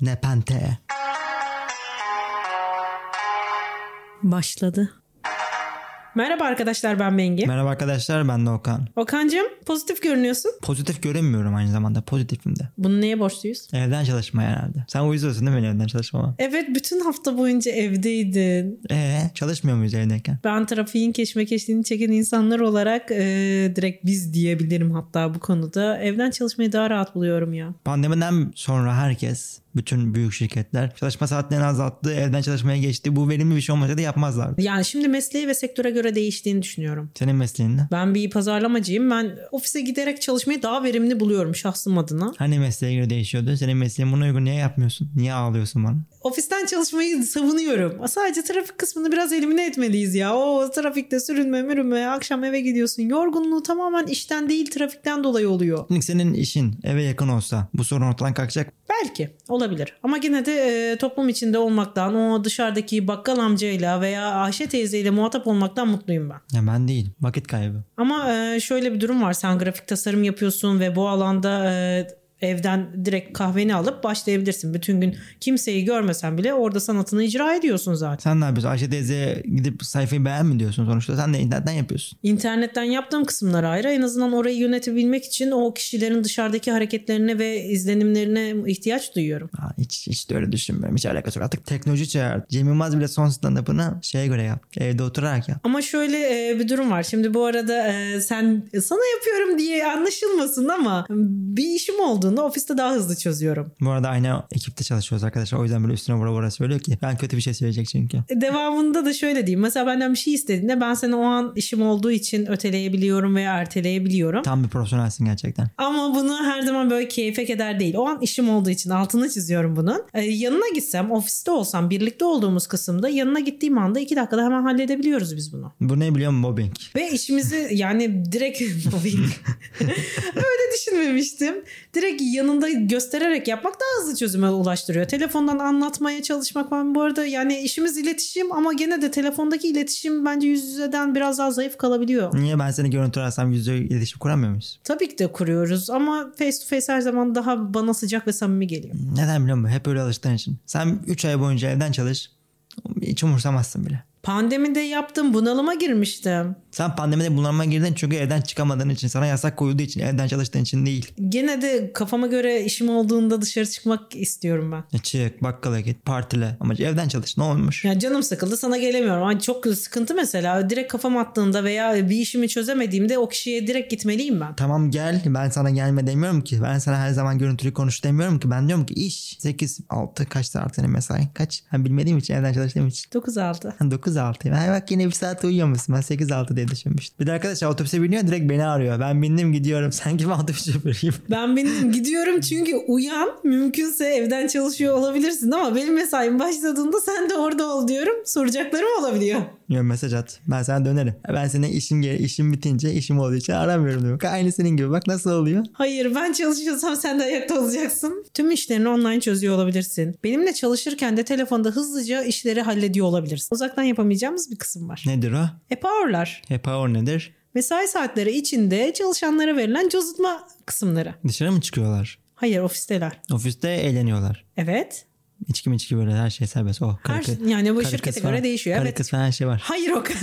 Nepente. Başladı. Merhaba arkadaşlar ben Bengi. Merhaba arkadaşlar ben de Okan. Okancığım pozitif görünüyorsun. Pozitif görünmüyorum aynı zamanda pozitifim de. Bunu neye borçluyuz? Evden çalışma herhalde. Sen uyuyorsun değil mi evden çalışmama? Evet bütün hafta boyunca evdeydin. Ee çalışmıyor muyuz evdeyken? Ben trafiğin keşmekeşliğini çeken insanlar olarak eee, direkt biz diyebilirim hatta bu konuda. Evden çalışmayı daha rahat buluyorum ya. Pandemiden sonra herkes, bütün büyük şirketler çalışma saatlerini azalttı, evden çalışmaya geçti. Bu verimli bir şey olmasaydı yapmazlardı. Yani şimdi mesleği ve sektöre göre değiştiğini düşünüyorum. Senin mesleğinde. Ben bir pazarlamacıyım. Ben ofise giderek çalışmayı daha verimli buluyorum şahsım adına. Hani mesleğe göre değişiyordu. Senin mesleğin buna uygun niye yapmıyorsun? Niye ağlıyorsun bana? Ofisten çalışmayı savunuyorum. Sadece trafik kısmını biraz elimine etmeliyiz ya. O trafikte sürünme mürünme akşam eve gidiyorsun. Yorgunluğu tamamen işten değil trafikten dolayı oluyor. Şimdi senin işin eve yakın olsa bu sorun ortadan kalkacak. Belki olabilir ama gene de e, toplum içinde olmaktan o dışarıdaki bakkal amcayla veya Ayşe teyzeyle muhatap olmaktan mutluyum ben. Ya ben değil. Vakit kaybı. Ama e, şöyle bir durum var sen grafik tasarım yapıyorsun ve bu alanda e, evden direkt kahveni alıp başlayabilirsin. Bütün gün kimseyi görmesen bile orada sanatını icra ediyorsun zaten. Sen ne yapıyorsun? Ayşe teyzeye gidip sayfayı beğen mi diyorsun sonuçta? Sen de internetten yapıyorsun. İnternetten yaptığım kısımlar ayrı. En azından orayı yönetebilmek için o kişilerin dışarıdaki hareketlerine ve izlenimlerine ihtiyaç duyuyorum. Aa, hiç, hiç de öyle düşünmüyorum. Hiç alakası yok. Artık teknoloji çağırdı. Cem Yılmaz bile son stand-up'ını şeye göre yaptı. Evde oturarak yap. Ama şöyle e, bir durum var. Şimdi bu arada e, sen sana yapıyorum diye anlaşılmasın ama bir işim olduğunda ofiste daha hızlı çözüyorum. Bu arada aynı ekipte çalışıyoruz arkadaşlar. O yüzden böyle üstüne vura vura söylüyor ki. Ben kötü bir şey söyleyecek çünkü. E, Devamında da şöyle diyeyim. Mesela benden bir şey istediğinde ben seni o an işim olduğu için öteleyebiliyorum veya erteleyebiliyorum. Tam bir profesyonelsin gerçekten. Ama bunu her zaman böyle keyfe keder değil. O an işim olduğu için altını çiziyorum bunun. Ee, yanına gitsem, ofiste olsam, birlikte olduğumuz kısımda yanına gittiğim anda iki dakikada hemen halledebiliyoruz biz bunu. Bu ne biliyor musun? Mobbing. Ve işimizi yani direkt öyle düşünmemiştim. Direkt yanında göstererek yapmak daha hızlı çözüme ulaştırıyor. Telefondan anlatmaya çalışmak ben bu arada yani işimiz iletişim ama gene de telefondaki iletişim bence yüz yüzeden biraz daha zayıf kalabiliyor. Niye ben seni görüntü alsam yüzde iletişim kuramıyor muyuz? Tabii ki de kuruyoruz ama face to face her zaman daha bana sıcak ve samimi geliyor. Neden biliyor musun? Hep öyle alıştığın için. Sen 3 ay boyunca evden çalış. Hiç umursamazsın bile. Pandemide yaptım bunalıma girmiştim. Sen pandemide bunalıma girdin çünkü evden çıkamadığın için, sana yasak koyulduğu için, evden çalıştığın için değil. Gene de kafama göre işim olduğunda dışarı çıkmak istiyorum ben. Ya Çık, bakkala git, partile ama evden çalış ne olmuş? Ya canım sıkıldı sana gelemiyorum. Ay çok sıkıntı mesela. Direkt kafam attığında veya bir işimi çözemediğimde o kişiye direkt gitmeliyim ben. Tamam gel ben sana gelme demiyorum ki. Ben sana her zaman görüntülü konuş demiyorum ki. Ben diyorum ki iş 8 6 kaç saat senin mesai? Kaç? Ha, bilmediğim için evden çalıştığım için. 9-6. 9 6. Ha, bak yine bir saat uyuyormuşsun. Ben 8 6 diye düşünmüştüm. Bir de arkadaşlar otobüse biniyor direkt beni arıyor. Ben bindim gidiyorum. Sanki ben otobüs şoförüyüm. Ben benim gidiyorum çünkü uyan mümkünse evden çalışıyor olabilirsin ama benim mesaim başladığında sen de orada ol diyorum. Soracaklarım olabiliyor. Ya mesaj at. Ben sana dönerim. Ben senin işim ge- işim bitince işim olduğu için aramıyorum diyor. Aynı senin gibi. Bak nasıl oluyor? Hayır ben çalışıyorsam sen de ayakta olacaksın. Tüm işlerini online çözüyor olabilirsin. Benimle çalışırken de telefonda hızlıca işleri hallediyor olabilirsin. Uzaktan yapamayacağımız bir kısım var. Nedir o? Happy hour'lar. Hep hour nedir? Mesai saatleri içinde çalışanlara verilen cozutma kısımları. Dışarı mı çıkıyorlar? Hayır ofisteler. Ofiste eğleniyorlar. Evet. İçki mi içki böyle her şey serbest. Oh, Her, karı- yani bu karı şirkete kız göre falan- değişiyor. Karı evet. kız falan her şey var. Hayır o kadar.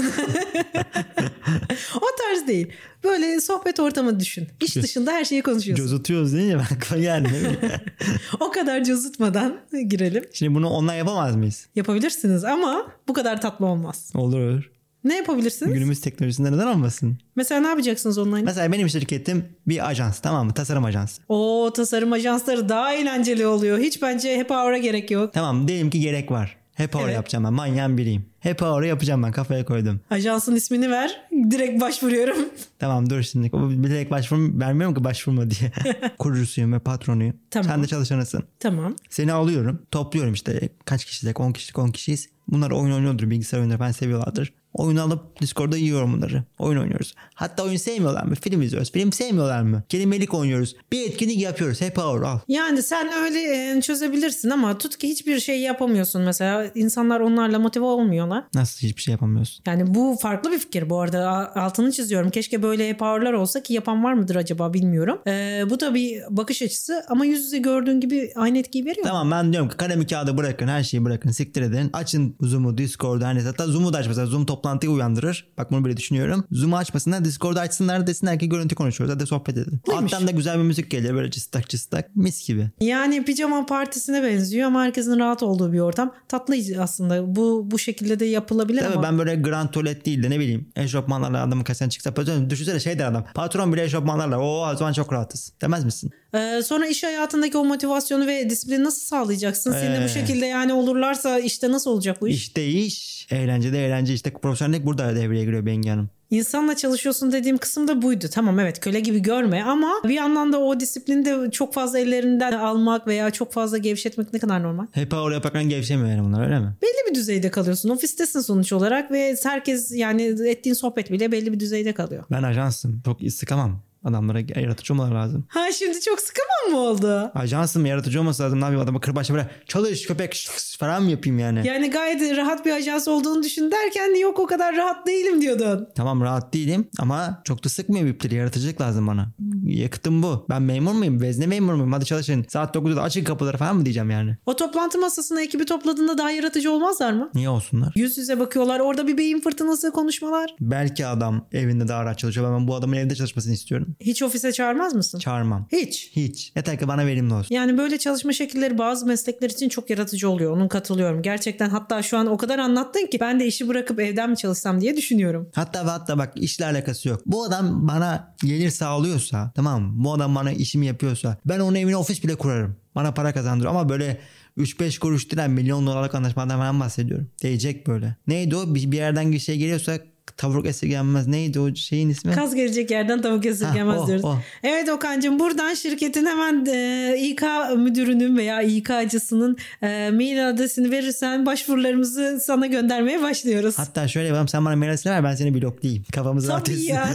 o tarz değil. Böyle sohbet ortamı düşün. İş dışında her şeyi konuşuyorsun. Cozutuyoruz değil mi? Aklıma geldi. O kadar cozutmadan girelim. Şimdi bunu online yapamaz mıyız? Yapabilirsiniz ama bu kadar tatlı olmaz. Olur olur. Ne yapabilirsiniz? Günümüz teknolojisinde neden olmasın? Mesela ne yapacaksınız online? Mesela benim şirketim bir ajans tamam mı? Tasarım ajansı. O tasarım ajansları daha eğlenceli oluyor. Hiç bence hep hour'a gerek yok. Tamam diyelim ki gerek var. Hep hour Evet. yapacağım ben. Manyan biriyim. Hep hour yapacağım ben. Kafaya koydum. Ajansın ismini ver. Direkt başvuruyorum. Tamam dur şimdi. O Bilerek başvurum vermiyorum ki başvurma diye. Kurucusuyum ve patronuyum. Tamam. Sen de çalışanısın. tamam. Seni alıyorum. Topluyorum işte kaç kişilik 10 kişilik 10 kişiyiz. Bunlar oyun oynuyordur bilgisayar oyunları ben seviyorlardır. Oyunu alıp Discord'da yiyorum bunları. Oyun oynuyoruz. Hatta oyun sevmiyorlar mı? Film izliyoruz. Film sevmiyorlar mı? Kelimelik oynuyoruz. Bir etkinlik yapıyoruz. Hep ağır al. Yani sen öyle e, çözebilirsin ama tut ki hiçbir şey yapamıyorsun mesela. İnsanlar onlarla motive olmuyorlar. Nasıl hiçbir şey yapamıyorsun? Yani bu farklı bir fikir bu arada A- altını çiziyorum. Keşke böyle hep ağırlar olsa ki yapan var mıdır acaba bilmiyorum. Ee, bu da bir bakış açısı ama yüz yüze gördüğün gibi aynı etkiyi veriyor. Tamam ben diyorum ki kalemi kağıdı bırakın her şeyi bırakın siktir edin. Açın Zoom'u Discord'u her neyse. Hatta Zoom'u da açmasınlar. Zoom toplantıyı uyandırır. Bak bunu böyle düşünüyorum. Zoom'u açmasınlar Discord'u açsınlar desinler ki görüntü konuşuyoruz. Hadi sohbet edelim. Neymiş? Alttan da güzel bir müzik geliyor böyle cıstak cıstak. Mis gibi. Yani pijama partisine benziyor ama herkesin rahat olduğu bir ortam. Tatlı aslında bu bu şekilde de yapılabilir Tabii ama. ben böyle grand tuvalet değil de ne bileyim eşofmanlarla adamın kasasına çıksa patron düşünsene şey der adam patron bile eşofmanlarla o o zaman çok rahatız demez misin? Ee, sonra iş hayatındaki o motivasyonu ve disiplini nasıl sağlayacaksın? Senin de Ee. bu şekilde yani olurlarsa işte nasıl olacak bu iş? İşte iş eğlence de eğlence işte profesyonellik burada devreye giriyor Bengi Hanım. İnsanla çalışıyorsun dediğim kısım da buydu. Tamam evet köle gibi görme ama bir yandan da o disiplini de çok fazla ellerinden almak veya çok fazla gevşetmek ne kadar normal. Hep oraya bakan gevşemiyor yani bunlar öyle mi? Belli bir düzeyde kalıyorsun. Ofistesin sonuç olarak ve herkes yani ettiğin sohbet bile belli bir düzeyde kalıyor. Ben ajansım çok sıkamam adamlara yaratıcı olmaları lazım. Ha şimdi çok sıkamam mı oldu? Ajansım yaratıcı olması lazım. Ne yapayım adamı kırbaçla böyle çalış köpek şıks falan mı yapayım yani? Yani gayet rahat bir ajans olduğunu düşün derken yok o kadar rahat değilim diyordun. Tamam rahat değilim ama çok da sıkmıyor ipleri. Yaratıcılık lazım bana. Yakıtım bu. Ben memur muyum? Vezne memur muyum? Hadi çalışın. Saat 9'da da açın kapıları falan mı diyeceğim yani? O toplantı masasına ekibi topladığında daha yaratıcı olmazlar mı? Niye olsunlar? Yüz yüze bakıyorlar orada bir beyin fırtınası konuşmalar. Belki adam evinde daha rahat çalışıyor. Ben bu adamın evde çalışmasını istiyorum. Hiç ofise çağırmaz mısın? Çağırmam. Hiç. Hiç. Yeter ki bana verimli olsun. Yani böyle çalışma şekilleri bazı meslekler için çok yaratıcı oluyor. Onun katılıyorum. Gerçekten hatta şu an o kadar anlattın ki ben de işi bırakıp evden mi çalışsam diye düşünüyorum. Hatta ve hatta bak işle alakası yok. Bu adam bana gelir sağlıyorsa tamam mı? Bu adam bana işimi yapıyorsa ben onun evine ofis bile kurarım. Bana para kazandırır ama böyle 3-5 kuruş değil milyon dolarlık anlaşmadan falan bahsediyorum. Değecek böyle. Neydi o? Bir, bir yerden bir şey geliyorsa tavuk esirgenmez. Neydi o şeyin ismi? Kaz gelecek yerden tavuk esirgemez Ha, oh, o, diyoruz. o. Evet Okan'cığım buradan şirketin hemen e, İK müdürünün veya İK'cısının e, mail adresini verirsen başvurularımızı sana göndermeye başlıyoruz. Hatta şöyle yapalım sen bana mail ver ben seni bloklayayım. Kafamızı rahat Tabii etsin. ya.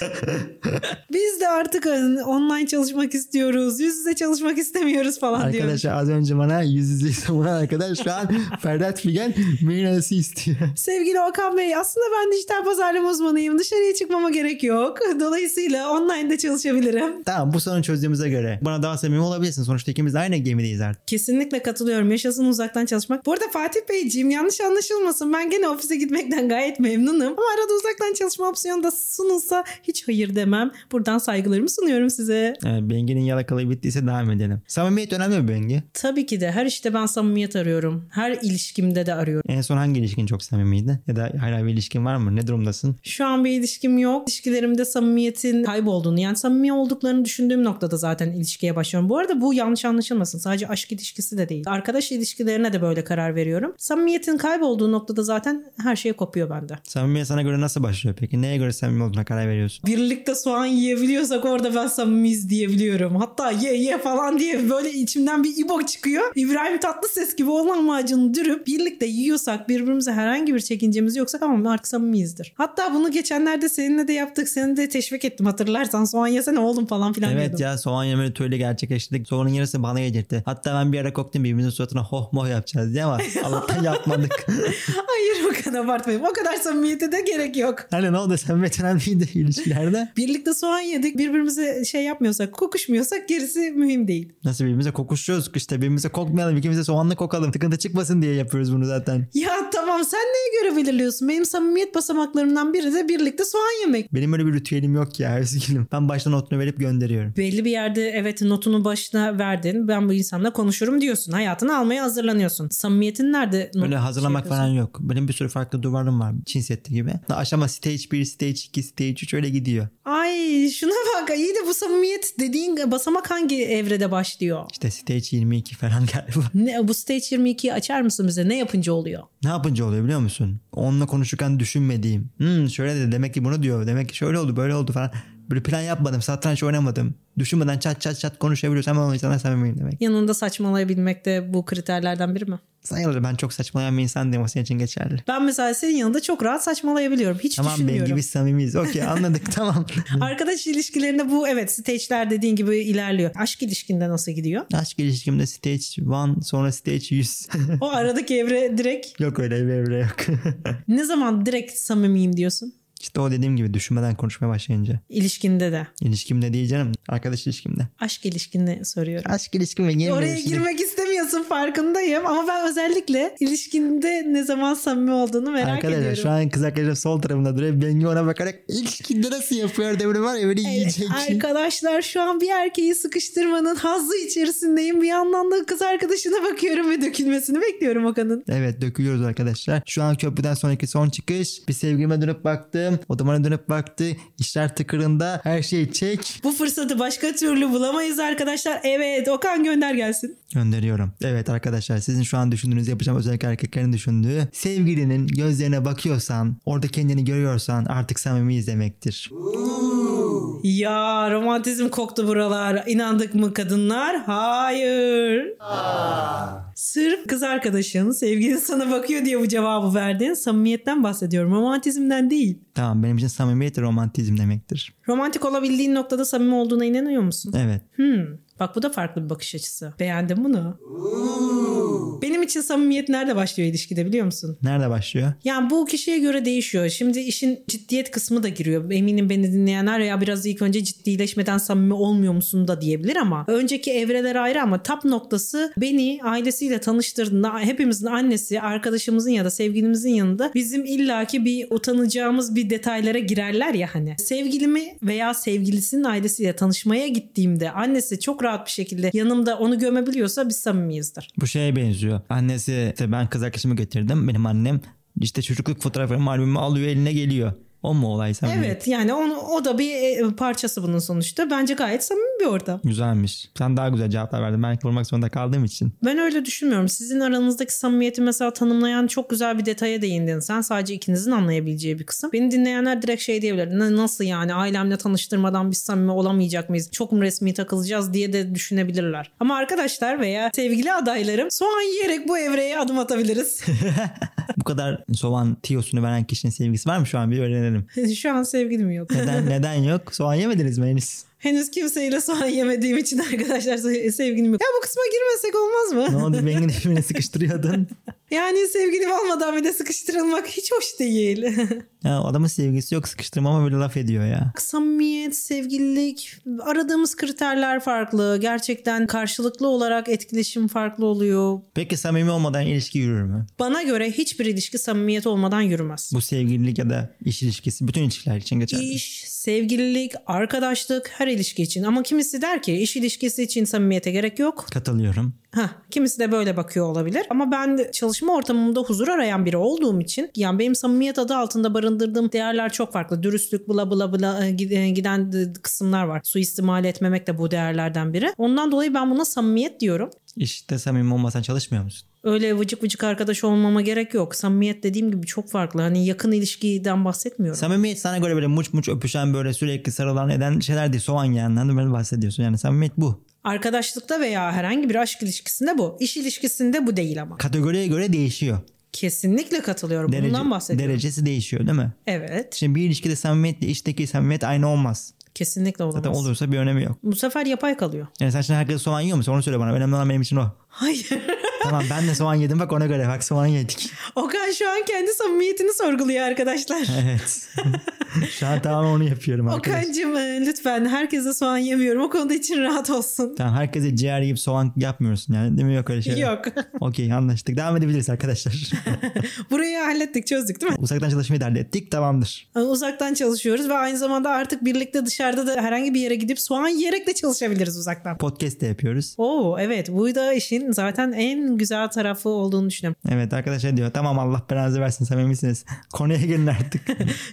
tabii. Biz de artık e, online çalışmak istiyoruz. Yüz yüze çalışmak istemiyoruz falan diyoruz. Arkadaşlar az önce bana yüz yüze savunan arkadaş şu an Ferhat Figen mail adresi istiyor. Sevgili Okan Bey aslında ben dijital pazarlama uzmanıyım. Dışarıya çıkmama gerek yok. Dolayısıyla online'da çalışabilirim. Tamam bu sorunu çözdüğümüze göre bana daha samimi olabilirsin. Sonuçta ikimiz de aynı gemideyiz artık. Kesinlikle katılıyorum. Yaşasın uzaktan çalışmak. Bu arada Fatih Beyciğim yanlış anlaşılmasın. Ben gene ofise gitmekten gayet memnunum. Ama arada uzaktan çalışma opsiyonu da sunulsa hiç hayır demem. Buradan saygılarımı sunuyorum size. Yani Bengi'nin yalakalığı bittiyse devam edelim. Samimiyet önemli mi Bengi? Tabii ki de her işte ben samimiyet arıyorum. Her ilişkimde de arıyorum. En son hangi ilişkin çok samimiydi? Ya da hala bir ilişkin var mı? Ne durumdasın? Şu an bir ilişkim yok. İlişkilerimde samimiyetin kaybolduğunu yani samimi olduklarını düşündüğüm noktada zaten ilişkiye başlıyorum. Bu arada bu yanlış anlaşılmasın. Sadece aşk ilişkisi de değil. Arkadaş ilişkilerine de böyle karar veriyorum. Samimiyetin kaybolduğu noktada zaten her şey kopuyor bende. Samimiyet sana göre nasıl başlıyor peki? Neye göre samimi olduğuna karar veriyorsun? Birlikte soğan yiyebiliyorsak orada ben samimiyiz diyebiliyorum. Hatta ye ye falan diye böyle içimden bir ibok çıkıyor. İbrahim Tatlıses gibi olan lahmacunu dürüp birlikte yiyorsak birbirimize herhangi bir çekincemiz yoksa tamam artık samimiyizdir. Hatta bunu geçenlerde seninle de yaptık. Seni de teşvik ettim hatırlarsan soğan yesene oğlum falan filan evet diyordum. ya soğan yeme ritüeli gerçekleştirdik. Soğanın yarısı bana yedirdi. Hatta ben bir ara korktum birbirimizin suratına hoh moh yapacağız diye ama Allah'tan yapmadık. Hayır o kadar abartmayayım. O kadar samimiyete de gerek yok. hani ne oldu samimiyet önemliydi ilişkilerde. Birlikte soğan yedik. Birbirimize şey yapmıyorsak, kokuşmuyorsak gerisi mühim değil. Nasıl birbirimize kokuşuyoruz işte birbirimize kokmayalım ikimize soğanla kokalım. Tıkıntı çıkmasın diye yapıyoruz bunu zaten. Ya tamam sen neye göre belirliyorsun? Benim samimiyet basamaklarımdan biri de birlikte soğan yemek. Benim öyle bir ritüelim yok ya üzgünüm. Ben baştan notunu verip gönderiyorum. Belli bir yerde evet notunu başına verdin. Ben bu insanla konuşurum diyorsun. Hayatını almaya hazırlanıyorsun. Samimiyetin nerede? not- Öyle hazırlamak şey falan yok. Benim bir sürü farklı duvarım var. Çin seti gibi. Aşama stage 1, stage 2, stage 3 öyle gidiyor. Ay şuna bak. İyi de bu samimiyet dediğin basamak hangi evrede başlıyor? İşte stage 22 falan galiba. Ne, bu stage 22'yi açar mısın bize? Ne yapınca oluyor? ne yapınca oluyor biliyor musun? Onunla konuşurken düşünmediğim. Hmm, şöyle de demek ki bunu diyor. Demek ki şöyle oldu böyle oldu falan. Böyle plan yapmadım, satranç oynamadım. Düşünmeden çat çat çat konuşabiliyorsam ben o insana samimiyim demek. Yanında saçmalayabilmek de bu kriterlerden biri mi? Sayılır ben çok saçmalayan bir insan değilim o senin için geçerli. Ben mesela senin yanında çok rahat saçmalayabiliyorum. Hiç Tamam ben düşünmüyorum. gibi samimiyiz. Okey anladık tamam. Arkadaş ilişkilerinde bu evet stage'ler dediğin gibi ilerliyor. Aşk ilişkinde nasıl gidiyor? Aşk ilişkimde stage 1 sonra stage 100. O aradaki evre direkt yok öyle bir evre yok. ne zaman direkt samimiyim diyorsun? işte o dediğim gibi düşünmeden konuşmaya başlayınca. İlişkinde de. İlişkimde değil canım. Arkadaş ilişkimde. Aşk ilişkinde soruyorum. Aşk ilişkim ve yeni Oraya ilişkim. girmek istemiyorsun farkındayım ama ben özellikle ilişkinde ne zaman samimi olduğunu merak Arkadaşlar ediyorum. şu an kız arkadaşım sol tarafında duruyor. Bengi ona bakarak ilişkinde nasıl yapıyor demir var ya böyle yiyecek. Arkadaşlar şu an bir erkeği sıkıştırmanın hazzı içerisindeyim. Bir yandan da kız arkadaşına bakıyorum ve dökülmesini bekliyorum Okan'ın. Evet dökülüyoruz arkadaşlar. Şu an köprüden sonraki son çıkış. Bir sevgilime dönüp baktım. Odamana dönüp baktı. İşler tıkırında. Her şey çek. Bu fırsatı başka türlü bulamayız arkadaşlar. Evet Okan gönder gelsin. Gönderiyorum. Evet arkadaşlar sizin şu an düşündüğünüz yapacağım özellikle erkeklerin düşündüğü. Sevgilinin gözlerine bakıyorsan orada kendini görüyorsan artık samimiyiz demektir. Ya romantizm koktu buralar. İnandık mı kadınlar? Hayır. Sırf kız arkadaşın, sevgilin sana bakıyor diye bu cevabı verdin. Samimiyetten bahsediyorum. Romantizmden değil. Tamam benim için samimiyet ve romantizm demektir. Romantik olabildiğin noktada samimi olduğuna inanıyor musun? Evet. Hmm. Bak bu da farklı bir bakış açısı. Beğendim bunu. Benim için samimiyet nerede başlıyor ilişkide biliyor musun? Nerede başlıyor? Yani bu kişiye göre değişiyor. Şimdi işin ciddiyet kısmı da giriyor. Eminim beni dinleyenler ya biraz ilk önce ciddileşmeden samimi olmuyor musun da diyebilir ama önceki evreler ayrı ama tap noktası beni ailesiyle tanıştırdığında hepimizin annesi, arkadaşımızın ya da sevgilimizin yanında bizim illaki bir utanacağımız bir detaylara girerler ya hani. Sevgilimi veya sevgilisinin ailesiyle tanışmaya gittiğimde annesi çok rahat bir şekilde yanımda onu gömebiliyorsa biz samimiyizdir. Bu şeye benziyor. Annesi işte ben kız arkadaşımı getirdim. Benim annem işte çocukluk fotoğraflarımı albümümü alıyor eline geliyor. O mu olay sen Evet yani onu, o da bir e, parçası bunun sonuçta. Bence gayet samimi bir ortam. Güzelmiş. Sen daha güzel cevaplar verdin. Ben vurmak zorunda kaldığım için. Ben öyle düşünmüyorum. Sizin aranızdaki samimiyeti mesela tanımlayan çok güzel bir detaya değindin. Sen sadece ikinizin anlayabileceği bir kısım. Beni dinleyenler direkt şey diyebilir. "Ne- Nasıl yani ailemle tanıştırmadan biz samimi olamayacak mıyız? Çok mu resmi takılacağız diye de düşünebilirler. Ama arkadaşlar veya sevgili adaylarım soğan yiyerek bu evreye adım atabiliriz. Bu kadar soğan tiyosunu veren kişinin sevgisi var mı şu an bir öğrenelim. Şu an sevgilim yok. Neden, neden yok? Soğan yemediniz mi henüz? Henüz kimseyle soğan yemediğim için arkadaşlar se- sevgilim yok. Ya bu kısma girmesek olmaz Ne mı? oldu? Bengin birbirine sıkıştırıyordun. Yani sevgilim olmadan bir de sıkıştırılmak hiç hoş değil. Ya, adamın sevgisi yok sıkıştırma ama böyle laf ediyor ya. samimiyet, sevgililik, aradığımız kriterler farklı. Gerçekten karşılıklı olarak etkileşim farklı oluyor. Peki samimi olmadan ilişki yürür mü? Bana göre hiçbir ilişki samimiyet olmadan yürümez. Bu sevgililik ya da iş ilişkisi bütün ilişkiler için geçerli. İş, sevgililik, arkadaşlık her ilişki için. Ama kimisi der ki iş ilişkisi için samimiyete gerek yok. Katılıyorum. Hah, kimisi de böyle bakıyor olabilir. Ama ben de çalışma ortamımda huzur arayan biri olduğum için yani benim samimiyet adı altında barındırdığım değerler çok farklı. Dürüstlük bula bula bula e, gid- e, giden e, kısımlar var. Suistimal etmemek de bu değerlerden biri. Ondan dolayı ben buna samimiyet diyorum. İşte samimi olmasan çalışmıyor musun? Öyle vıcık vıcık arkadaş olmama gerek yok. Samimiyet dediğim gibi çok farklı. Hani yakın ilişkiden bahsetmiyorum. Samimiyet sana göre böyle muç muç öpüşen böyle sürekli sarılan eden şeyler değil. Soğan yiyenden de böyle bahsediyorsun. Yani samimiyet bu. Arkadaşlıkta veya herhangi bir aşk ilişkisinde bu. İş ilişkisinde bu değil ama. Kategoriye göre değişiyor. Kesinlikle katılıyorum. Derece- Bundan bahsediyorum. Derecesi değişiyor değil mi? Evet. Şimdi bir ilişkide samimiyetle işteki samimiyet aynı olmaz. Kesinlikle olamaz. Zaten olursa bir önemi yok. Bu sefer yapay kalıyor. Yani sen şimdi herkes soğan yiyor musun? Onu söyle bana. Önemli olan benim için o. Hayır. tamam ben de soğan yedim bak ona göre. Bak soğan yedik. Okan şu an kendi samimiyetini sorguluyor arkadaşlar. Evet. Şu an tamamen onu yapıyorum arkadaşlar. Okan'cığım e, lütfen herkese soğan yemiyorum. O konuda için rahat olsun. Tamam herkese ciğer yiyip soğan yapmıyorsun yani değil mi? Yok öyle şey. Yok. Okey anlaştık. Devam edebiliriz arkadaşlar. Burayı hallettik çözdük değil mi? Uzaktan çalışmayı da hallettik. Tamamdır. E, Uzaktan çalışıyoruz ve aynı zamanda artık birlikte dışarıda da herhangi bir yere gidip soğan yiyerek de çalışabiliriz uzaktan. Podcast de yapıyoruz. Oo evet bu da işin zaten en güzel tarafı olduğunu düşünüyorum. Evet arkadaşlar diyor tamam Allah belanızı versin samimisiniz. Konuya gelin artık.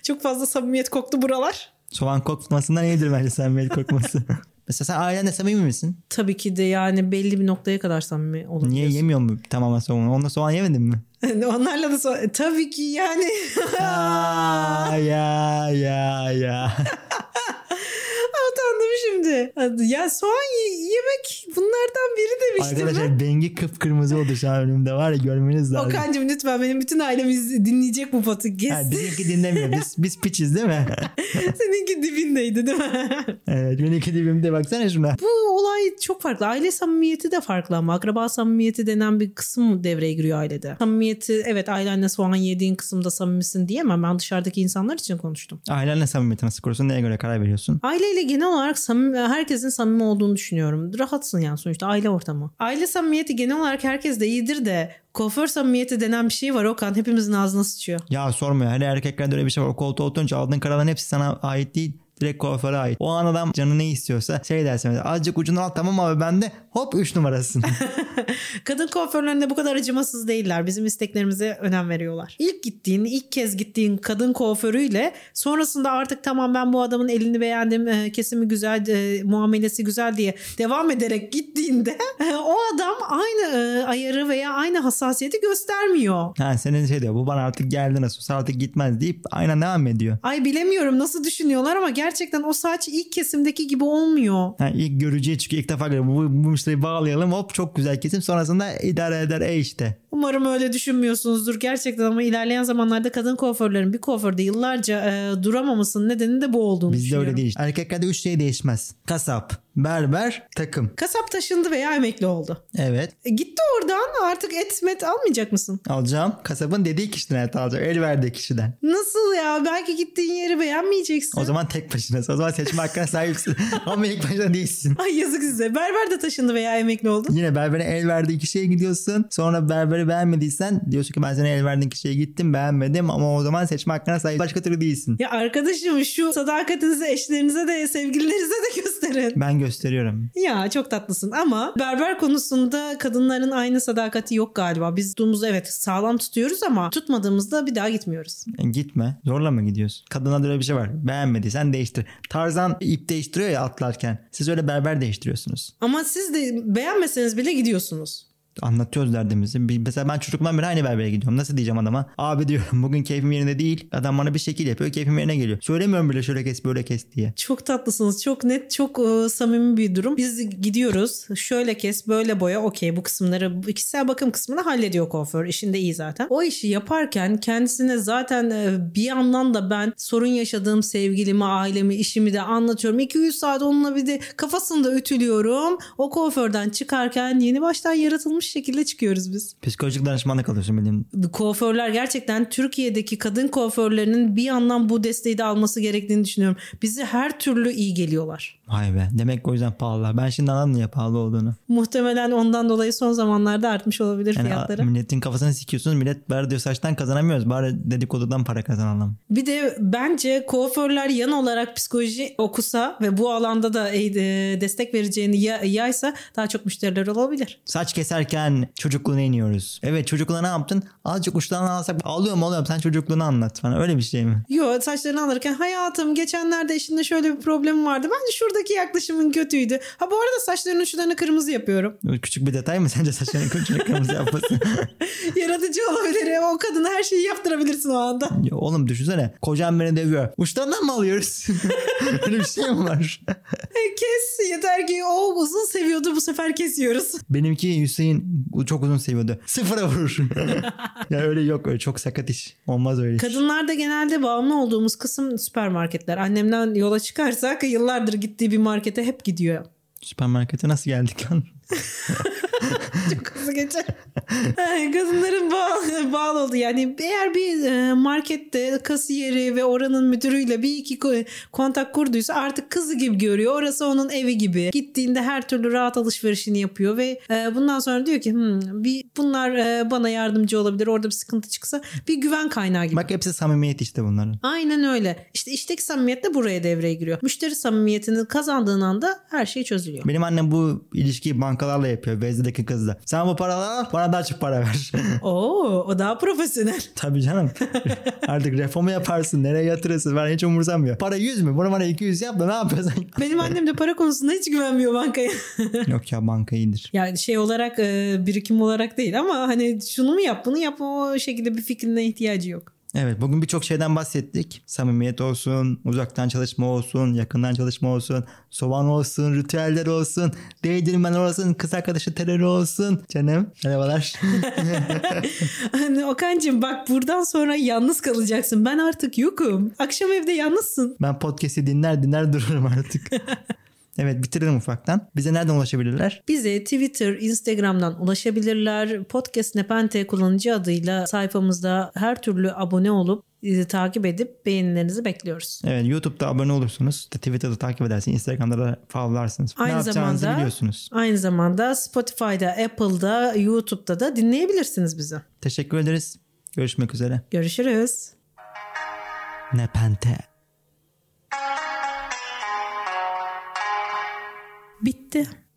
Çok fazla samimiyet koktu buralar. Soğan kokmasından iyidir bence samimiyet kokması. Mesela sen ailenle samimi misin? Tabii ki de yani belli bir noktaya kadar samimi olabiliyorsun. Niye yemiyor mu tamamen soğanı? Onda soğan yemedin mi? Onlarla da so- tabii ki yani Aa, ya ya ya. de. Ya soğan ye- yemek bunlardan biri demiştim. ben. Arkadaşlar bengi kıpkırmızı oldu şu an önümde var ya görmeniz lazım. Okan'cığım lütfen benim bütün ailem iz- dinleyecek bu potu. Ha, Kesin bizimki dinlemiyor. Biz, biz piçiz değil mi? seninki dibindeydi değil mi? evet benimki dibimde baksana şuna. bu olay çok farklı. Aile samimiyeti de farklı ama akraba samimiyeti denen bir kısım devreye giriyor ailede. Samimiyeti evet ailenle soğan yediğin kısımda samimisin diyemem. Ben dışarıdaki insanlar için konuştum. Ailenle samimiyeti nasıl kuruyorsun? Neye göre karar veriyorsun? Aileyle genel olarak samimi, herkesin samimi olduğunu düşünüyorum. Rahatsın yani sonuçta aile ortamı. Aile samimiyeti genel olarak herkes de iyidir de kuaför samimiyeti denen bir şey var Okan. Hepimizin ağzına sıçıyor. Ya sorma ya. Hele erkeklerde öyle bir şey var. O koltuğa oturunca aldığın kararların hepsi sana ait değil. Direkt kuaföre ait. O an adam canı ne istiyorsa şey dersin mesela azıcık ucunu al tamam abi ben de hop 3 numarasın. Kadın kuaförlerinde bu kadar acımasız değiller. Bizim isteklerimize önem veriyorlar. İlk gittiğin, ilk kez gittiğin kadın kuaförüyle sonrasında artık tamam ben bu adamın elini beğendim, e, kesimi güzel, e, muamelesi güzel diye devam ederek gittiğinde o adam aynı e, ayarı veya aynı hassasiyeti göstermiyor. ha senin şey diyor bu bana artık geldi nasıl olsa artık gitmez deyip aynen devam ediyor. Ay bilemiyorum nasıl düşünüyorlar ama gerçekten o saç ilk kesimdeki gibi olmuyor. Ha, ilk görücüye çıkıyor ilk defa görüyor. Bu, bu müşteriyi bağlayalım hop çok güzel kesim sonrasında idare eder e işte. Umarım öyle düşünmüyorsunuzdur gerçekten ama ilerleyen zamanlarda kadın kuaförlerin bir kuaförde yıllarca e, duramamasının nedeni de bu olduğunu Bizde düşünüyorum. öyle değil. Erkeklerde 3 şey değişmez. Kasap, berber, takım. Kasap taşındı veya emekli oldu. Evet E, gitti oradan artık et met almayacak mısın? alacağım. Kasabın dediği kişiden et alacağım. El verdiği kişiden. Nasıl ya? Belki gittiğin yeri beğenmeyeceksin. O zaman tek başınasın. O zaman seçme hakkına sahipsin. Ama ilk başta değilsin. Ay yazık size. Berber de taşındı veya emekli oldu. Yine berbere el verdiği kişiye gidiyorsun. Sonra berbere beğenmediysen diyorsun ki ben sana el verdiğin kişiye gittim beğenmedim ama o zaman seçme hakkına sahip başka türlü değilsin. Ya arkadaşım şu sadakatinizi eşlerinize de sevgililerinize de gösterin. Ben gösteriyorum. Ya çok tatlısın ama berber konusunda kadınların aynı sadakati yok galiba. Biz tuttuğumuzda evet sağlam tutuyoruz ama tutmadığımızda bir daha gitmiyoruz. E, Gitme. Zorla mı gidiyorsun? Kadına da öyle bir şey var. Beğenmediysen değiştir. Tarzan ip değiştiriyor ya atlarken. Siz öyle berber değiştiriyorsunuz. Ama siz de beğenmeseniz bile gidiyorsunuz. Anlatıyoruz derdimizi. Bir- Mesela ben çocukluğumdan beri aynı berbere gidiyorum. Nasıl diyeceğim adama? Abi diyorum bugün keyfim yerinde değil. Adam bana bir şekil yapıyor. Keyfim yerine geliyor. Söylemiyorum bile şöyle kes böyle kes diye. Çok tatlısınız. Çok net, çok e, samimi bir durum. Biz gidiyoruz. Şöyle kes, böyle boya. Okey bu kısımları, bu kişisel bakım kısmını hallediyor kuaför. İşinde iyi zaten. O işi yaparken kendisine zaten e, bir yandan da ben sorun yaşadığım sevgilimi, ailemi, işimi de anlatıyorum. 200 saat onunla bir de kafasında ütülüyorum. O kuaförden çıkarken yeni baştan yaratılmış şekilde çıkıyoruz biz. Psikolojik danışmanlık alıyorsun bildiğin. Kuaförler gerçekten Türkiye'deki kadın kuaförlerinin bir yandan bu desteği de alması gerektiğini düşünüyorum. Bizi her türlü iyi geliyorlar. Vay be. Demek ki o yüzden pahalılar. Ben şimdi anladım niye pahalı olduğunu. Muhtemelen ondan dolayı son zamanlarda artmış olabilir Yani fiyatları. a- milletin kafasını sikiyorsunuz. Millet bari diyor saçtan kazanamıyoruz. Bari dedikodudan para kazanalım. Bir de bence kuaförler yan olarak psikoloji okusa ve bu alanda da e, e, destek vereceğini ya- yaysa daha çok müşteriler olabilir. Saç keserken çocukluğuna iniyoruz. Evet çocukluğuna ne yaptın? Azıcık uçlarını alsak alıyorum alıyorum sen çocukluğunu anlat falan. Öyle bir şey mi? Yo saçlarını alırken hayatım geçenlerde işinde şöyle bir problemim vardı. Bence şuradaki yaklaşımın kötüydü. Ha bu arada saçlarının uçlarını kırmızı yapıyorum. Küçük bir detay mı sence saçlarını kırmızı kırmızı yapması? Yaratıcı olabilir. O kadına her şeyi yaptırabilirsin o anda. Ya Oğlum düşünsene kocam beni dövüyor. Uçlarından mı alıyoruz? Öyle bir şey mi var? E, Kes yeter ki o uzun seviyordu bu sefer kesiyoruz. Benimki Hüseyin çok uzun seviyordu. Sıfıra vurur. ya öyle yok öyle çok sakat iş. Olmaz öyle iş. Kadınlarda genelde bağımlı olduğumuz kısım süpermarketler. Annemden yola çıkarsak yıllardır gittiği bir markete hep gidiyor. Süpermarkete nasıl geldik lan? Çok hızlı geçer. Ay, Kadınların bağlı, bağlı oldu. Yani eğer bir e, markette kasiyeri ve oranın müdürüyle bir iki ko- kontak kurduysa artık kızı gibi görüyor. Orası onun evi gibi. Gittiğinde her türlü rahat alışverişini yapıyor ve e, bundan sonra diyor ki "Hmm, bir bunlar e, bana yardımcı olabilir. Orada bir sıkıntı çıksa bir güven kaynağı gibi. Bak hepsi samimiyet işte bunların. Aynen öyle. İşte işteki samimiyet de buraya devreye giriyor. Müşteri samimiyetini kazandığın anda her şey çözülüyor. Benim annem bu ilişkiyi bankalarla yapıyor. Beyzli'deki kızla. Sen bu paraları al bana daha çok para ver. Oo, o daha profesyonel. Tabii canım. Artık reformu yaparsın. Nereye yatırırsın? Ben hiç umursamıyor. Para 100 mü? Bunu bana 200 yap da ne yapıyorsun? Benim annem de para konusunda hiç güvenmiyor bankaya. Yok ya banka iyidir. yani şey olarak e, birikim olarak değil ama hani şunu mu yap bunu yap o şekilde bir fikrine ihtiyacı yok. Evet bugün birçok şeyden bahsettik. Samimiyet olsun, uzaktan çalışma olsun, yakından çalışma olsun, soğan olsun, ritüeller olsun, değdirmeler olsun, kız arkadaşı terörü olsun. Canım merhabalar. Hani Okan'cığım bak buradan sonra yalnız kalacaksın. Ben artık yokum. Akşam evde yalnızsın. ben podcast'i dinler dinler dururum artık. evet bitirelim ufaktan. Bize nereden ulaşabilirler? Bize Twitter, Instagram'dan ulaşabilirler. Podcast Nepente kullanıcı adıyla sayfamızda her türlü abone olup bizi takip edip beğenilerinizi bekliyoruz. Evet YouTube'da abone olursunuz. İşte Twitter'da takip edersiniz. Instagram'da da followlarsınız. ne Aynı yapacağınızı zamanda- biliyorsunuz. Aynı zamanda Spotify'da, Apple'da, YouTube'da da dinleyebilirsiniz bizi. Teşekkür ederiz. Görüşmek üzere. Görüşürüz. Nepente. Bitti.